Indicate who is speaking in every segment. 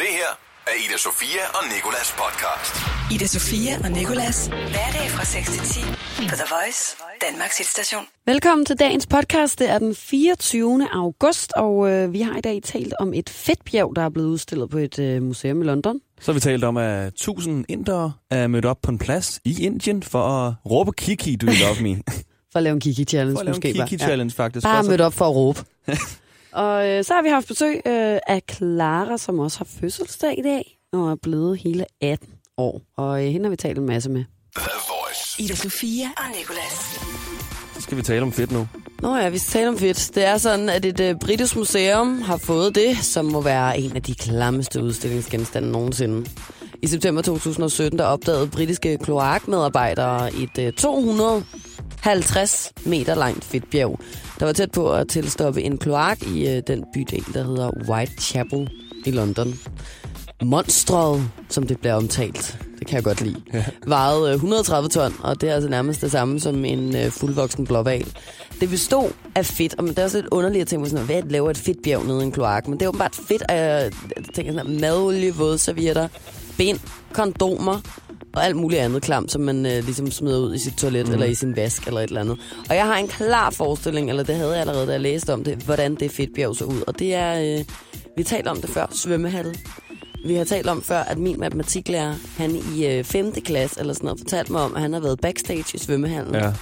Speaker 1: af Ida Sofia og Nikolas podcast.
Speaker 2: Ida Sofia og Nikolas. Hverdag fra 6 til 10 på The Voice, Danmarks hitstation.
Speaker 3: Velkommen til dagens podcast. Det er den 24. august, og øh, vi har i dag talt om et fedtbjerg, der er blevet udstillet på et øh, museum i London.
Speaker 4: Så har vi talt om, at 1000 indere er mødt op på en plads i Indien for at råbe Kiki, do you love me?
Speaker 3: For at lave en kiki-challenge
Speaker 4: For at lave en
Speaker 3: måske.
Speaker 4: Kiki
Speaker 3: bare.
Speaker 4: Challenge faktisk.
Speaker 3: Ja. Bare
Speaker 4: Også-
Speaker 3: mødt op for at råbe. og øh, så har vi haft besøg øh, af Clara, som også har fødselsdag i dag, og er blevet hele 18 år. Og øh, hende har vi talt en masse med.
Speaker 1: The Voice.
Speaker 2: Ida Sofia og Nikolas.
Speaker 4: Så skal vi tale om fedt nu.
Speaker 5: Nå ja, vi skal tale om fedt. Det er sådan, at et øh, britisk museum har fået det, som må være en af de klammeste udstillingsgenstande nogensinde. I september 2017 der opdagede britiske kloakmedarbejdere et øh, 250 meter langt fedtbjerg, der var tæt på at tilstoppe en kloak i øh, den bydel, der hedder Whitechapel i London. Monstret, som det bliver omtalt, det kan jeg godt lide, vejede øh, 130 ton, og det er altså nærmest det samme som en øh, fuldvoksen blåval. Det bestod af fedt, og men det er også lidt underligt at tænke på sådan, hvad laver et fedt bjerg nede i en kloak? Men det er åbenbart fedt, at jeg tænker sådan, madolie, vådservietter, bind, kondomer og alt muligt andet klam, som man øh, ligesom smider ud i sit toilet mm. eller i sin vask eller et eller andet. Og jeg har en klar forestilling, eller det havde jeg allerede, da jeg læste om det, hvordan det fedtbjerg så ud. Og det er, øh, vi talte om det før, svømmehallen. Vi har talt om før, at min matematiklærer, han i øh, 5. klasse eller sådan noget, fortalte mig om, at han har været backstage i svømmehallen
Speaker 4: Ja.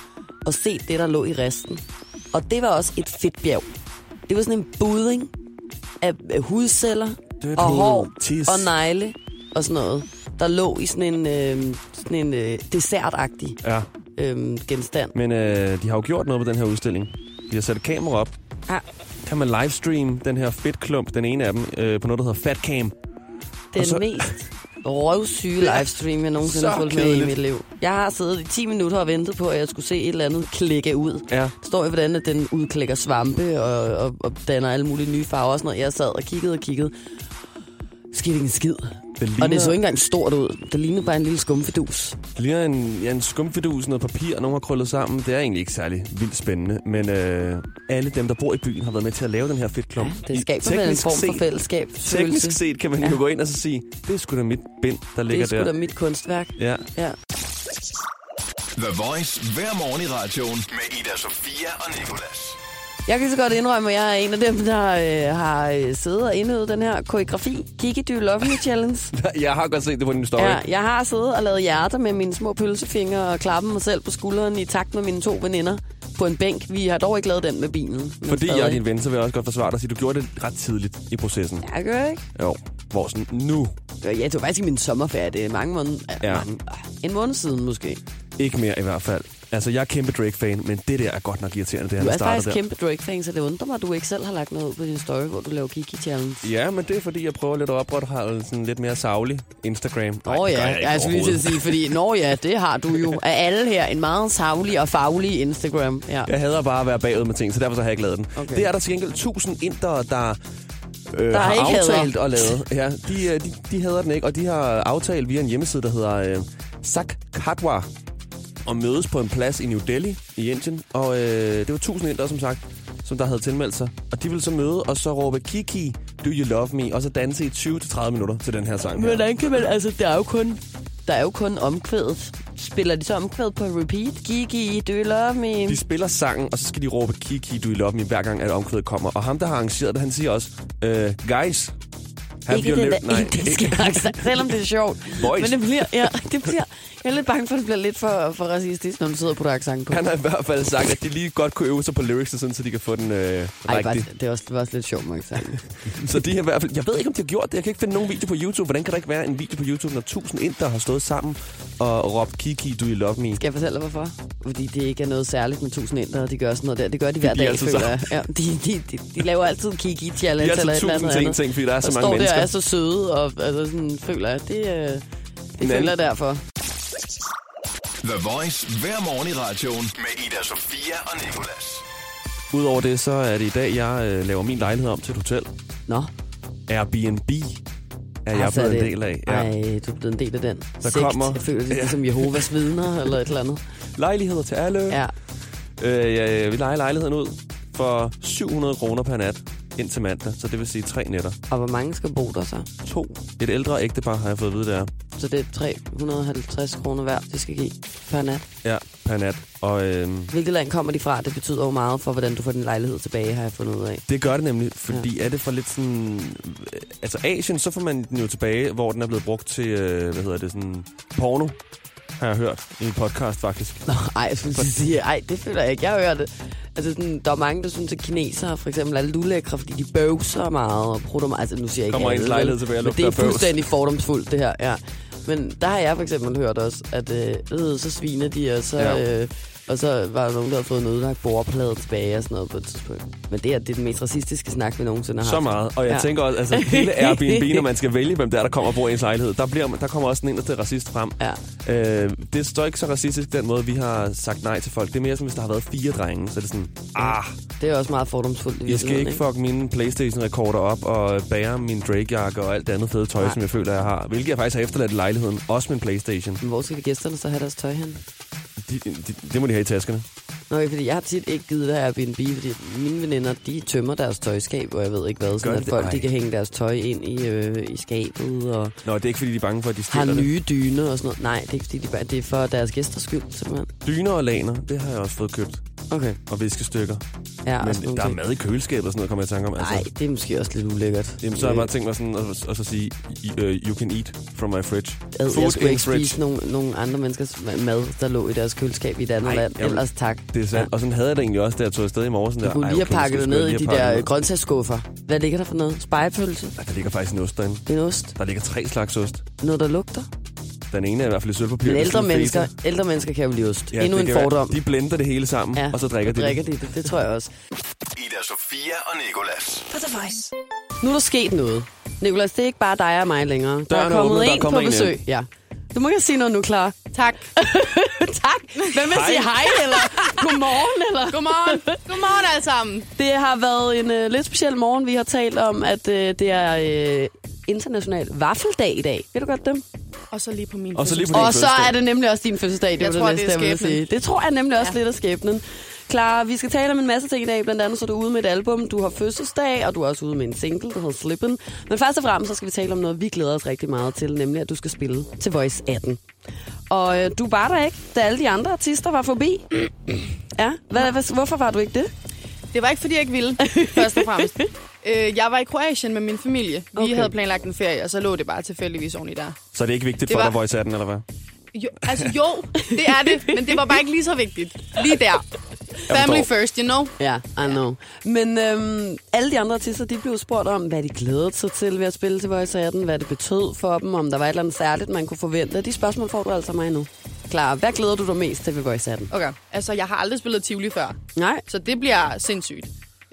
Speaker 5: og set det, der lå i resten. Og det var også et fedt bjerg. Det var sådan en budding af, af hudceller
Speaker 4: Dødt
Speaker 5: og
Speaker 4: hud,
Speaker 5: hår
Speaker 4: tis.
Speaker 5: og negle og sådan noget, der lå i sådan en, øh, sådan en øh, dessertagtig
Speaker 4: Ja.
Speaker 5: øh, genstand.
Speaker 4: Men øh, de har jo gjort noget på den her udstilling. De har sat et kamera op.
Speaker 5: Ja.
Speaker 4: Kan man livestream den her fedtklump, den ene af dem, øh, på noget, der hedder Fatcam.
Speaker 5: Den
Speaker 4: så-
Speaker 5: så... mest røvsyge livestream, jeg nogensinde
Speaker 4: så
Speaker 5: har fulgt med i
Speaker 4: kedeligt.
Speaker 5: mit liv. Jeg har siddet i 10 minutter og ventet på, at jeg skulle se et eller andet klikke ud.
Speaker 4: Ja.
Speaker 5: Der står jo, hvordan at den udklækker svampe og, og, og danner alle mulige nye farver og sådan noget. Jeg sad og kiggede og kiggede. Skete ikke en skid.
Speaker 4: Det ligner,
Speaker 5: Og det så ikke engang stort ud. Det lignede bare en lille skumfidus.
Speaker 4: det ligner en, ja, en skumfidus, noget papir, nogen har krøllet sammen. Det er egentlig ikke særlig vildt spændende. Men øh, alle dem, der bor i byen, har været med til at lave den her fedtklump. I-
Speaker 5: Det skaber vel en
Speaker 4: teknisk
Speaker 5: form for
Speaker 4: set-
Speaker 5: fællesskab.
Speaker 4: Teknisk set kan man jo gå ind og så sige, det er sgu da mit bind, der
Speaker 5: Det er
Speaker 4: ligger
Speaker 5: sgu
Speaker 4: der.
Speaker 5: da mit kunstværk.
Speaker 4: Ja.
Speaker 5: Ja.
Speaker 1: The Voice hver morgen i radioen med Ida Sofia og Nikolas.
Speaker 5: Jeg kan så godt indrømme, at jeg er en af dem, der øh, har øh, siddet og indøvet den her koreografi. Kiki, do you love me challenge?
Speaker 4: Jeg har godt set det på din story.
Speaker 5: Ja, jeg har siddet og lavet hjerter med mine små pølsefingre og klappet mig selv på skulderen i takt med mine to veninder på en bænk. Vi har dog ikke lavet den med bilen. men
Speaker 4: Fordi jeg er
Speaker 5: stadig.
Speaker 4: din ven, så vil jeg også godt forsvare dig og sige, du gjorde det ret tidligt i processen.
Speaker 5: Jeg gør ikke.
Speaker 4: Jo, hvor sådan, nu
Speaker 5: Ja, det var faktisk i min sommerferie. Det er mange måneder.
Speaker 4: Ja.
Speaker 5: Ja. Mange, ah, en måned siden måske.
Speaker 4: ikke mere i hvert fald. Altså, jeg er kæmpe Drake-fan, men det der er godt nok irriterende, det
Speaker 5: Du
Speaker 4: han
Speaker 5: er
Speaker 4: startede
Speaker 5: faktisk
Speaker 4: der.
Speaker 5: kæmpe Drake-fan, så det undrer mig, at du ikke selv har lagt noget ud på din story, hvor du laver Kiki-challenge.
Speaker 4: Ja, men det er fordi, jeg prøver lidt at opretholde sådan lidt mere savlig Instagram. Nej,
Speaker 5: Nå
Speaker 4: det
Speaker 5: ja, Altså,
Speaker 4: gør jeg ikke
Speaker 5: jeg skulle lige til at
Speaker 4: overhovedet.
Speaker 5: sige, fordi nå ja, det har du jo af alle her. En meget savlig og faglig Instagram. Ja.
Speaker 4: Jeg hader bare at være bagud med ting, så derfor så har jeg ikke lavet den.
Speaker 5: Okay.
Speaker 4: Det er der til gengæld 1000 indere, der, øh,
Speaker 5: Der
Speaker 4: har
Speaker 5: ikke hader.
Speaker 4: aftalt og lavet. Ja, de, øh, de, de hader den ikke, og de har aftalt via en hjemmeside, der hedder øh, Sakkatwa, og mødes på en plads i New Delhi i Indien. Og øh, det var 1000 indere, som sagt, som der havde tilmeldt sig. Og de ville så møde og så råbe Kiki, do you love me, og så danse i 20-30 minutter til den her sang her.
Speaker 5: Hvordan kan man, altså, der er jo kun... Der er jo kun omkvædet. Spiller de så omkvædet på repeat? Gigi, do you love me?
Speaker 4: De spiller sangen, og så skal de råbe Kiki, du i love me, hver gang at omkvædet kommer. Og ham, der har arrangeret det, han siger også, øh, guys, have
Speaker 5: Ikke
Speaker 4: your
Speaker 5: den
Speaker 4: lip-
Speaker 5: der indiske accent, selvom det er sjovt.
Speaker 4: Voice.
Speaker 5: Men det bliver, ja, det bliver, jeg er lidt bange for, at det bliver lidt for, for racistisk, når du sidder på der accent på.
Speaker 4: Han har i hvert fald sagt, at de lige godt kunne øve sig på lyricsene, sådan, så de kan få den øh,
Speaker 5: Ej, var,
Speaker 4: rigtige.
Speaker 5: det, er også, det var også lidt sjovt, må jeg sige.
Speaker 4: Så de har i hvert fald... Jeg ved ikke, om de har gjort det. Jeg kan ikke finde nogen video på YouTube. Hvordan kan der ikke være en video på YouTube, når tusind indere har stået sammen og råbt Kiki, du i love me?
Speaker 5: Skal jeg fortælle dig, hvorfor? Fordi det ikke er noget særligt med tusind indere, de gør sådan noget der. Det gør de hver
Speaker 4: bliver
Speaker 5: dag,
Speaker 4: altid
Speaker 5: føler jeg. Ja, de, de, de, de, laver altid en
Speaker 4: De
Speaker 5: kiki-challenge
Speaker 4: er
Speaker 5: eller
Speaker 4: altså
Speaker 5: et eller andet
Speaker 4: tusind ting,
Speaker 5: andet.
Speaker 4: ting, fordi der er så
Speaker 5: og står
Speaker 4: mange
Speaker 5: der og er
Speaker 4: mennesker.
Speaker 5: så søde, og altså, sådan, føler jeg, det, øh, det føler jeg derfor.
Speaker 1: The Voice hver morgen i radioen med Ida Sofia og Nikolas.
Speaker 4: Udover det, så er det i dag, jeg øh, laver min lejlighed om til et hotel.
Speaker 5: Nå,
Speaker 4: Airbnb er jeg
Speaker 5: Altså,
Speaker 4: blevet en
Speaker 5: det-
Speaker 4: del af.
Speaker 5: Ej, du er blevet en del af den.
Speaker 4: Der
Speaker 5: Der Sekt.
Speaker 4: kommer-
Speaker 5: kommer... Jeg føler det er
Speaker 4: Ja.
Speaker 5: ligesom Jehovas vidner eller et eller andet.
Speaker 4: Lejligheder til alle.
Speaker 5: Ja.
Speaker 4: Øh, ja, ja, vi lejer lejligheden ud for 700 kroner per nat. indtil mandag, så det vil sige tre nætter.
Speaker 5: Og hvor mange skal bo der så?
Speaker 4: To. Et ældre ægtepar har jeg fået at vide, det er.
Speaker 5: Så det er 350 kroner hver, de skal give per nat.
Speaker 4: Ja, per nat. Og øhm,
Speaker 5: Hvilket land kommer de fra? Det betyder jo meget for, hvordan du får din lejlighed tilbage, har jeg fundet ud af.
Speaker 4: det gør det nemlig, fordi ja. er det for lidt sådan... øh, Altså Asien, så får man den jo tilbage, hvor den er blevet brugt til, øh, hvad hedder det, sådan porno, har jeg hørt i en podcast faktisk.
Speaker 5: Nå, ej, jeg skulle lige sige, ej, det føler jeg ikke. Jeg hører det. Altså, sådan, der er mange, der synes, at kinesere for eksempel er lidt ulækre, fordi de bøvser meget og prutter meget. Altså, nu siger jeg ikke
Speaker 4: Kommer
Speaker 5: alle,
Speaker 4: ens lejlighed
Speaker 5: vel?
Speaker 4: tilbage og
Speaker 5: Men det er
Speaker 4: lugter af bøvs.
Speaker 5: fuldstændig fordomsfuldt, det her, ja. Men der har jeg for eksempel hørt også, at øh, øh, så sviner de, og så,
Speaker 4: Ja.
Speaker 5: ja. øh, og så var der nogen, der havde fået en ødelagt bordplade tilbage og sådan noget på et tidspunkt. Men det her, det er den mest racistiske snak, vi nogensinde har
Speaker 4: Så
Speaker 5: haft.
Speaker 4: meget. Og jeg ja.
Speaker 5: Ja.
Speaker 4: tænker også, altså hele Airbnb, når man skal vælge, hvem der er, der kommer og bor i ens lejlighed, der, bliver, man- der kommer også den eneste racist frem.
Speaker 5: Ja.
Speaker 4: Øh, det står ikke så racistisk, den måde, vi har sagt nej til folk. Det er mere som, hvis der har været fire drenge, så er det sådan, ah,
Speaker 5: Det er også meget fordomsfuldt. i
Speaker 4: jeg skal
Speaker 5: virkeligheden,
Speaker 4: ikke fuck mine Playstation-rekorder op og bære min Drake-jakke og alt det andet fede tøj,
Speaker 5: Nej.
Speaker 4: som jeg føler, jeg har. Hvilket jeg faktisk har efterladt i lejligheden. Også min Playstation.
Speaker 5: Men hvor skal de gæsterne så have deres tøj hen?
Speaker 4: De, de, det må de have i taskerne.
Speaker 5: Nå, okay, fordi jeg har tit ikke givet det her Airbnb, fordi mine veninder, de tømmer deres tøjskab, og jeg ved ikke hvad,
Speaker 4: Gør
Speaker 5: sådan at
Speaker 4: det?
Speaker 5: folk
Speaker 4: Ej.
Speaker 5: de kan hænge deres tj ind i, øh, i skabet, og
Speaker 4: Nå, det er ikke, fordi de er bange for, at de
Speaker 5: har
Speaker 4: stiller det.
Speaker 5: nye dyner og sådan noget. Nej, det er ikke fordi, de bare, det er for deres gæsters skyld, simpelthen.
Speaker 4: Dyner og laner, det har jeg også fået købt.
Speaker 5: Okay.
Speaker 4: Og viskestykker.
Speaker 5: Ja, og sådan
Speaker 4: Men
Speaker 5: nogle
Speaker 4: der er
Speaker 5: ting.
Speaker 4: mad i køleskabet og sådan noget, kommer jeg i tanke om. altså.
Speaker 5: Nej, det er måske også lidt ulækkert.
Speaker 4: Jamen, så har jeg
Speaker 5: Øh,
Speaker 4: bare tænkt mig sådan, og, og så sige, "I- øh, you can eat from my fridge.
Speaker 5: ad, jeg skulle ikke
Speaker 4: fridge.
Speaker 5: spise nogle, nogle andre menneskers ma- mad, der lå i deres køleskab i et andet
Speaker 4: Ej,
Speaker 5: land.
Speaker 4: jeg vil-
Speaker 5: Ellers tak.
Speaker 4: Det er sandt.
Speaker 5: Ja.
Speaker 4: Ja. Og sådan havde jeg det egentlig også, da jeg tog afsted i morgen. Sådan
Speaker 5: Du
Speaker 4: der,
Speaker 5: kunne
Speaker 4: "Ej,
Speaker 5: lige
Speaker 4: okay,
Speaker 5: have pakket det
Speaker 4: nu skal jeg
Speaker 5: ned i
Speaker 4: lige
Speaker 5: de
Speaker 4: have pakket
Speaker 5: der øh,
Speaker 4: ned."
Speaker 5: grøntsagsskuffer. Hvad ligger der for noget? Spejepølse?
Speaker 4: Ej, Der ligger faktisk en ost derinde.
Speaker 5: En ost?
Speaker 4: Der ligger tre slags ost.
Speaker 5: Noget, der lugter?
Speaker 4: Den ene er i hvert fald i sølvpapir.
Speaker 5: Men
Speaker 4: det er
Speaker 5: ældre
Speaker 4: sådan en feta.
Speaker 5: mennesker, ældre mennesker kan jo blive ost. Ja, Endnu
Speaker 4: det
Speaker 5: en
Speaker 4: kan være-
Speaker 5: fordom.
Speaker 4: De blender det hele sammen, ja. og så drikker de
Speaker 5: drikker
Speaker 4: det.
Speaker 5: de det. Det tror jeg også.
Speaker 1: Ida Sofia og Nikolas.
Speaker 2: På The Voice.
Speaker 5: Nu er der sket noget. Nicolas, det er ikke bare dig og mig længere. Der,
Speaker 4: er
Speaker 5: er,
Speaker 4: en
Speaker 5: kommet
Speaker 4: åbnet, der er
Speaker 5: en
Speaker 4: kommet
Speaker 5: på
Speaker 4: en
Speaker 5: besøg. Ja. Du må ikke sige noget nu, klar.
Speaker 6: Tak.
Speaker 5: tak. Hvem vil
Speaker 4: Hej.
Speaker 5: sige hej, eller godmorgen, eller...
Speaker 6: Godmorgen. Godmorgen alle sammen.
Speaker 5: Det har været en øh, lidt speciel morgen. Vi har talt om, at øh, det er øh, international vaffeldag i dag. Ved du godt dem?
Speaker 6: Og så lige på min
Speaker 4: Og så lige på
Speaker 5: Og
Speaker 4: din
Speaker 5: så
Speaker 4: fødselsdag.
Speaker 5: er det nemlig også din fødselsdag. Det
Speaker 6: Jeg
Speaker 5: var
Speaker 6: tror,
Speaker 5: det næste,
Speaker 6: det er
Speaker 5: jeg ville
Speaker 6: skæbnen.
Speaker 5: sige. Det tror jeg nemlig også ja.
Speaker 6: Ja.
Speaker 5: lidt af skæbnen. Klar, vi skal tale om en masse ting i dag, blandt andet så er du ude med et album, du har fødselsdag, og du er også ude med en single, der hedder Slippen. Men først og fremmest så skal vi tale om noget, vi glæder os rigtig meget til, nemlig at du skal spille til Voice 18. Og øh, du var der ikke, da alle de andre artister var forbi. ja, hvad, hvad, hvorfor var du ikke det?
Speaker 6: Det var ikke, fordi jeg ikke ville, først og fremmest. Øh, jeg var i Kroatien med min familie. Vi
Speaker 5: Okay.
Speaker 6: okay. havde planlagt en ferie, og så lå det bare tilfældigvis oveni der.
Speaker 4: Så er det ikke vigtigt
Speaker 6: Det
Speaker 4: for dig,
Speaker 6: var-
Speaker 4: hvor I den, eller hvad?
Speaker 6: Jo, altså jo, det er det, men det var bare ikke lige så vigtigt. Lige der. Family
Speaker 4: forstår.
Speaker 6: first, you know?
Speaker 5: Ja, I know. Men øhm, alle de andre artister, de blev spurgt om, hvad de glædede sig til ved at spille til Voice 18, hvad det betød for dem, om der var et eller andet særligt, man kunne forvente. De spørgsmål får du altså af mig nu. Klar, hvad glæder du dig mest til ved Voice 18?
Speaker 6: Okay, altså jeg har aldrig spillet Tivoli før,
Speaker 5: Nej,
Speaker 6: så det bliver sindssygt.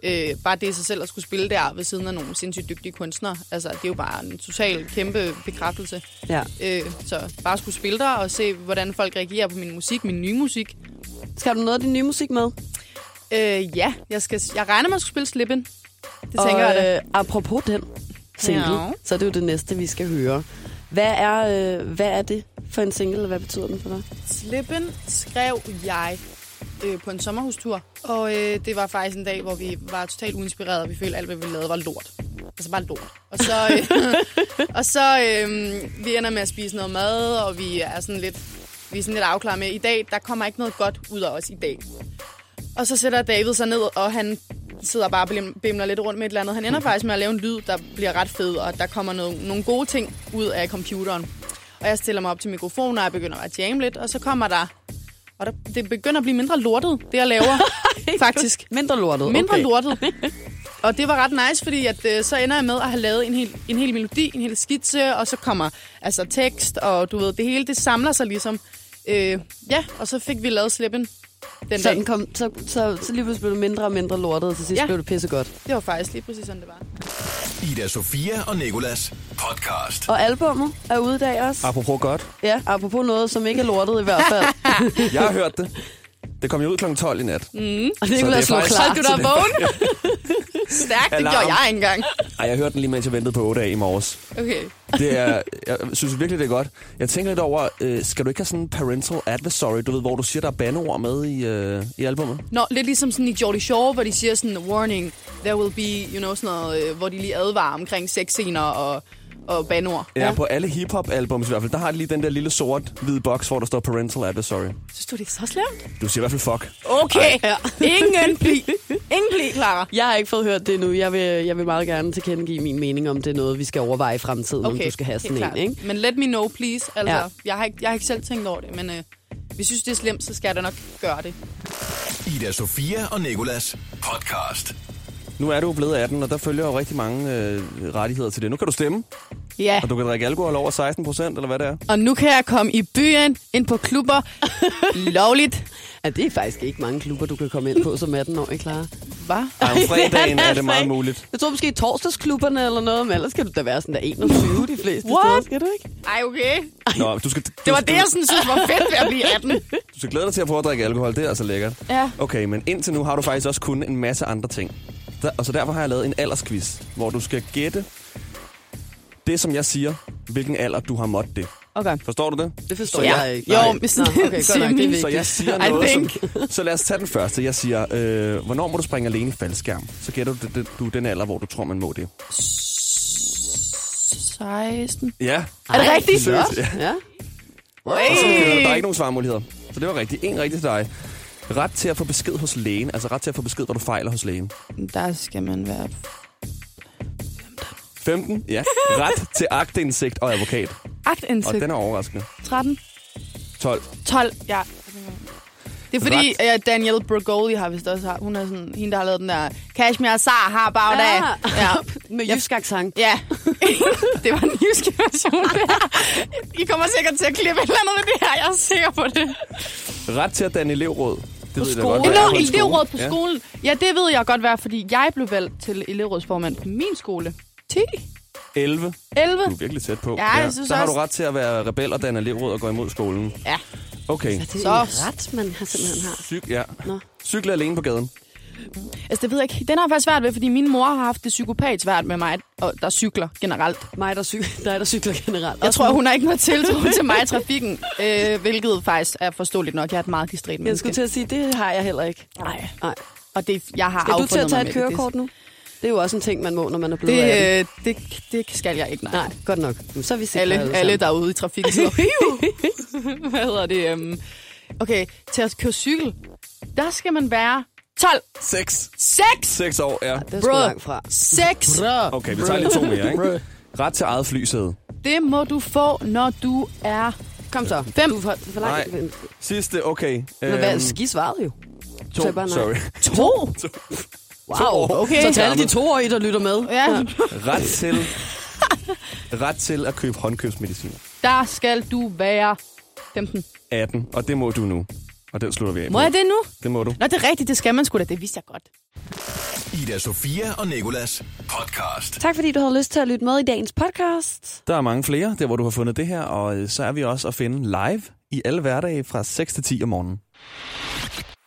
Speaker 6: Øh, bare det i sig selv at skulle spille der ved siden af nogle sindssygt dygtige kunstnere. Altså, det er jo bare en total kæmpe bekræftelse.
Speaker 5: ja.
Speaker 6: Øh, så bare skulle spille der og se, hvordan folk reagerer på min musik, min nye musik.
Speaker 5: Skal du noget af din nye musik med?
Speaker 6: Øh, ja, jeg, skal, jeg regner med at skulle spille Slippen. Det tænker jeg da.
Speaker 5: øh, apropos den single,
Speaker 6: Ja.
Speaker 5: så er det jo det næste, vi skal høre. Hvad er, øh, hvad er det for en single, og hvad betyder den for dig?
Speaker 6: Slippen skrev jeg øh, på en sommerhustur, og øh, det var faktisk en dag, hvor vi var totalt uinspirerede, og vi følte, at alt, hvad vi lavede, var lort. Altså bare lort. Og så, øh, og så øh, vi ender med at spise noget mad, og vi er sådan lidt, vi er sådan lidt afklaret med, i dag, der kommer ikke noget godt ud af os i dag. Og så sætter David sig ned, og han sidder bare og blim- bimler lidt rundt med et eller andet. Han ender faktisk med at lave en lyd, der bliver ret fed, og der kommer noget, nogle gode ting ud af computeren. Og jeg stiller mig op til mikrofonen, og jeg begynder at jamme lidt, og så kommer der... Og der, det begynder at blive mindre lortet, det jeg laver, faktisk.
Speaker 5: Mindre lortet.
Speaker 6: Mindre
Speaker 5: okay.
Speaker 6: lortet. Og det var ret nice, fordi at, øh, så ender jeg med at have lavet en hel, en hel melodi, en hel skitse, og så kommer altså tekst, og du ved, det hele, det samler sig ligesom. Øh, ja, og så fik vi lavet slippen den
Speaker 5: Så,
Speaker 6: dag.
Speaker 5: den kom, så, så, så lige pludselig blev det mindre og mindre lortet, og til sidst ja.
Speaker 6: Ja.
Speaker 5: blev det pissegodt.
Speaker 6: Det var faktisk lige præcis sådan, det var.
Speaker 1: Ida Sofia og Nikolas podcast.
Speaker 5: Og albummet er ude i dag også.
Speaker 4: Apropos godt.
Speaker 5: Ja, apropos noget, som ikke er lortet i hvert fald.
Speaker 4: Jeg har hørt det. Det kom jo ud kl. 12 i nat. Mm.
Speaker 5: Og det
Speaker 4: det er
Speaker 5: kunne slå
Speaker 4: faktisk-
Speaker 5: klar.
Speaker 6: Holdt du dig vågen? Stærkt, det
Speaker 4: Alarm.
Speaker 6: gjorde jeg ikke engang.
Speaker 4: Ej, jeg hørte den lige, mens jeg ventede på 8 dage i morges.
Speaker 6: Okay.
Speaker 4: Det er, jeg synes virkelig, det er godt. Jeg tænker lidt over, øh, skal du ikke have sådan en parental advisory, du ved, hvor du siger, der er bandeord med i, øh, i albumet?
Speaker 6: Nå, lidt ligesom sådan i Geordie Shore, hvor de siger sådan, warning, there will be, you know, sådan noget, øh, hvor de lige advarer omkring sexscener og, og banord.
Speaker 4: Ja, på alle hip-hop-albums i hvert fald, der har de lige den der lille sort-hvide boks, hvor der står parental advisory.
Speaker 6: Synes du, det er så slemt?
Speaker 4: Du siger i hvert fald fuck.
Speaker 6: Okay, ingen pli. Ingen pli, Clara.
Speaker 5: Jeg har ikke fået hørt det nu. Jeg vil, jeg vil meget gerne tilkendegive min mening om, det er noget, vi skal overveje i fremtiden, okay, om du skal have
Speaker 6: helt
Speaker 5: sådan en.
Speaker 6: klart.
Speaker 5: Ikke?
Speaker 6: Men let me know, please. Altså,
Speaker 5: Ja.
Speaker 6: ja. jeg, har ikke, jeg har ikke selv tænkt over det, men øh, hvis synes, det er slemt, så skal jeg da nok gøre det.
Speaker 1: Ida Sofia og Nikolas podcast.
Speaker 4: Nu er du jo blevet 18, og der følger jo rigtig mange øh, rettigheder til det. Nu kan du stemme,
Speaker 6: Ja,
Speaker 4: og du kan drikke alkohol over 16 procent, eller hvad det er.
Speaker 6: og nu kan jeg komme i byen, ind på klubber, lovligt.
Speaker 5: Ja, det er faktisk ikke mange klubber, du kan komme ind på som 18-årig, Clara.
Speaker 6: Hvad?
Speaker 4: Ej, om fredagen
Speaker 5: Ja,
Speaker 4: er det meget
Speaker 5: fredag.
Speaker 4: muligt.
Speaker 5: Jeg tror måske i torsdagsklubberne eller noget, men ellers skal du da være sådan der 21 de fleste
Speaker 6: What?
Speaker 5: steder, skal du ikke?
Speaker 6: Ej, okay.
Speaker 4: Nå, du skal, du,
Speaker 6: Det var det, jeg
Speaker 4: du,
Speaker 6: sådan, synes var fedt ved at blive 18.
Speaker 4: du skal glæde dig til at prøve at drikke alkohol, det er altså lækkert.
Speaker 6: Ja.
Speaker 4: Okay, men indtil nu har du faktisk også kun en masse andre ting. Der, og så derfor har jeg lavet en aldersquiz, hvor du skal gætte det, som jeg siger, hvilken alder du har måttet det.
Speaker 6: Okay.
Speaker 4: Forstår du det?
Speaker 5: Det forstår
Speaker 6: Ja.
Speaker 5: jeg ikke.
Speaker 6: Jo,
Speaker 5: Nej.
Speaker 6: men
Speaker 5: Nå,
Speaker 6: sådan-
Speaker 5: okay, godt nok, det er
Speaker 4: Så
Speaker 5: vigtigt.
Speaker 4: jeg siger
Speaker 6: I
Speaker 4: noget, som,
Speaker 6: think.
Speaker 4: Så lad os tage den første. Jeg siger, øh, hvornår må du springe alene i faldskærm? Så gætter du, det, det, du den alder, hvor du tror, man må det.
Speaker 6: 16.
Speaker 4: Ja.
Speaker 6: Er det rigtigt?
Speaker 4: Seriøst, ja.
Speaker 5: Ja.
Speaker 4: Der er ikke nogen svarmuligheder. Så det var rigtigt. En rigtig til dig. Ret til at få besked hos lægen. Altså ret til at få besked, hvor du fejler hos lægen.
Speaker 6: Der skal man være...
Speaker 4: 15. Ja. Ret til agtindsigt og advokat.
Speaker 6: 8
Speaker 4: Og
Speaker 6: indsigt.
Speaker 4: den er overraskende.
Speaker 6: 13.
Speaker 4: 12.
Speaker 6: 12, ja. Det er fordi,
Speaker 4: Ret.
Speaker 6: ja, Daniel Brogoli har vist også, har- hun er sådan, hende der har lavet den der Kashmir Sar har bare ja. ja.
Speaker 5: Ah. Med jysk accent.
Speaker 6: Ja, det var den jyske version der. I kommer sikkert til at klippe et eller andet med det her, jeg er sikker på det.
Speaker 4: Ret til at danne elevråd. Det ved jeg da godt.
Speaker 6: Det
Speaker 4: hvad er
Speaker 6: lå
Speaker 4: på en
Speaker 6: elevråd på
Speaker 4: skole.
Speaker 6: skolen. Ja. ja, det ved jeg godt være, fordi jeg blev valgt til elevrådsformand på min skole. 10?
Speaker 4: Ja. 11.
Speaker 6: 11?
Speaker 4: Du er virkelig tæt på.
Speaker 6: Ja, jeg synes
Speaker 4: Så har du
Speaker 6: også-
Speaker 4: ret til at være rebel og danne elevråd og gå imod skolen.
Speaker 6: Ja.
Speaker 4: Okay.
Speaker 5: Det er
Speaker 6: Så-
Speaker 5: en ret, man har simpelthen har.
Speaker 4: Cyk, ja.
Speaker 5: Nå.
Speaker 4: Cykle alene på gaden.
Speaker 6: Altså, det ved jeg ikke. Den har jeg faktisk svært ved, fordi min mor har haft det psykopat svært med mig, og der cykler generelt.
Speaker 5: Mig, der, cyk- dig, der cykler generelt.
Speaker 6: Jeg tror, hun har ikke noget tiltro til mig i trafikken, øh, hvilket faktisk er forståeligt nok. Jeg er et meget distræt
Speaker 5: Jeg
Speaker 6: menneske.
Speaker 5: skulle til at sige, det har jeg heller ikke.
Speaker 6: Nej.
Speaker 5: Nej.
Speaker 6: Og det, jeg har
Speaker 5: Skal du til at
Speaker 6: affundet
Speaker 5: tage
Speaker 6: mig
Speaker 5: et
Speaker 6: med det.
Speaker 5: kørekort nu? Det er jo også en ting, man må, når man er blevet det, 18.
Speaker 6: Det, øh, det, det, det skal jeg ikke, nej.
Speaker 5: Nej, godt nok. Nu, Så er vi sikre
Speaker 6: alle,
Speaker 5: alle
Speaker 6: alle
Speaker 5: sammen.
Speaker 6: derude i trafikken sidder, "Hiu!" Hvad hedder det? Um, okay, til at køre cykel, der skal man være 12,
Speaker 4: 6.
Speaker 6: 6,
Speaker 4: 6 år, ja.
Speaker 5: Det er sgu
Speaker 6: Bro.
Speaker 5: langt fra.
Speaker 6: 6.
Speaker 4: Okay, vi tager lige to mere, ikke? Ret til eget flysæde.
Speaker 6: Det må du få, når du er
Speaker 5: Kom så.
Speaker 6: 5.
Speaker 5: Du er for, for
Speaker 4: Nej.
Speaker 5: langt. Men
Speaker 4: Sidste, okay. Øhm,
Speaker 5: hvad, ski svarede jo.
Speaker 4: to,
Speaker 5: sagde bare nej.
Speaker 4: sorry.
Speaker 6: 2.
Speaker 5: Wow, okay. Så til alle de toårige, der lytter med.
Speaker 6: Ja,
Speaker 4: Ret til, ret til at købe håndkøbsmedicin.
Speaker 6: der skal du være 15.
Speaker 4: 18, og det må du nu. Og den slutter vi af
Speaker 6: Må
Speaker 4: med.
Speaker 6: jeg det nu?
Speaker 4: Det må du.
Speaker 6: Nå, det er rigtigt, det skal man sgu da. Det vidste jeg godt.
Speaker 1: Ida Sofia og Nikolas podcast.
Speaker 3: Tak fordi du havde lyst til at lytte med i dagens podcast.
Speaker 4: Der er mange flere, der hvor du har fundet det her, og øh, så er vi også at finde live i alle hverdage fra 6 til 10 om morgenen.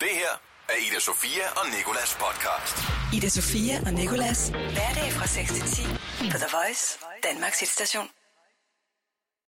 Speaker 1: Det her er Ida Sofia og Nikolas podcast.
Speaker 2: Ida Sofia og Nikolas. Hverdag fra 6 til 10 på The Voice, Danmarks hitstation.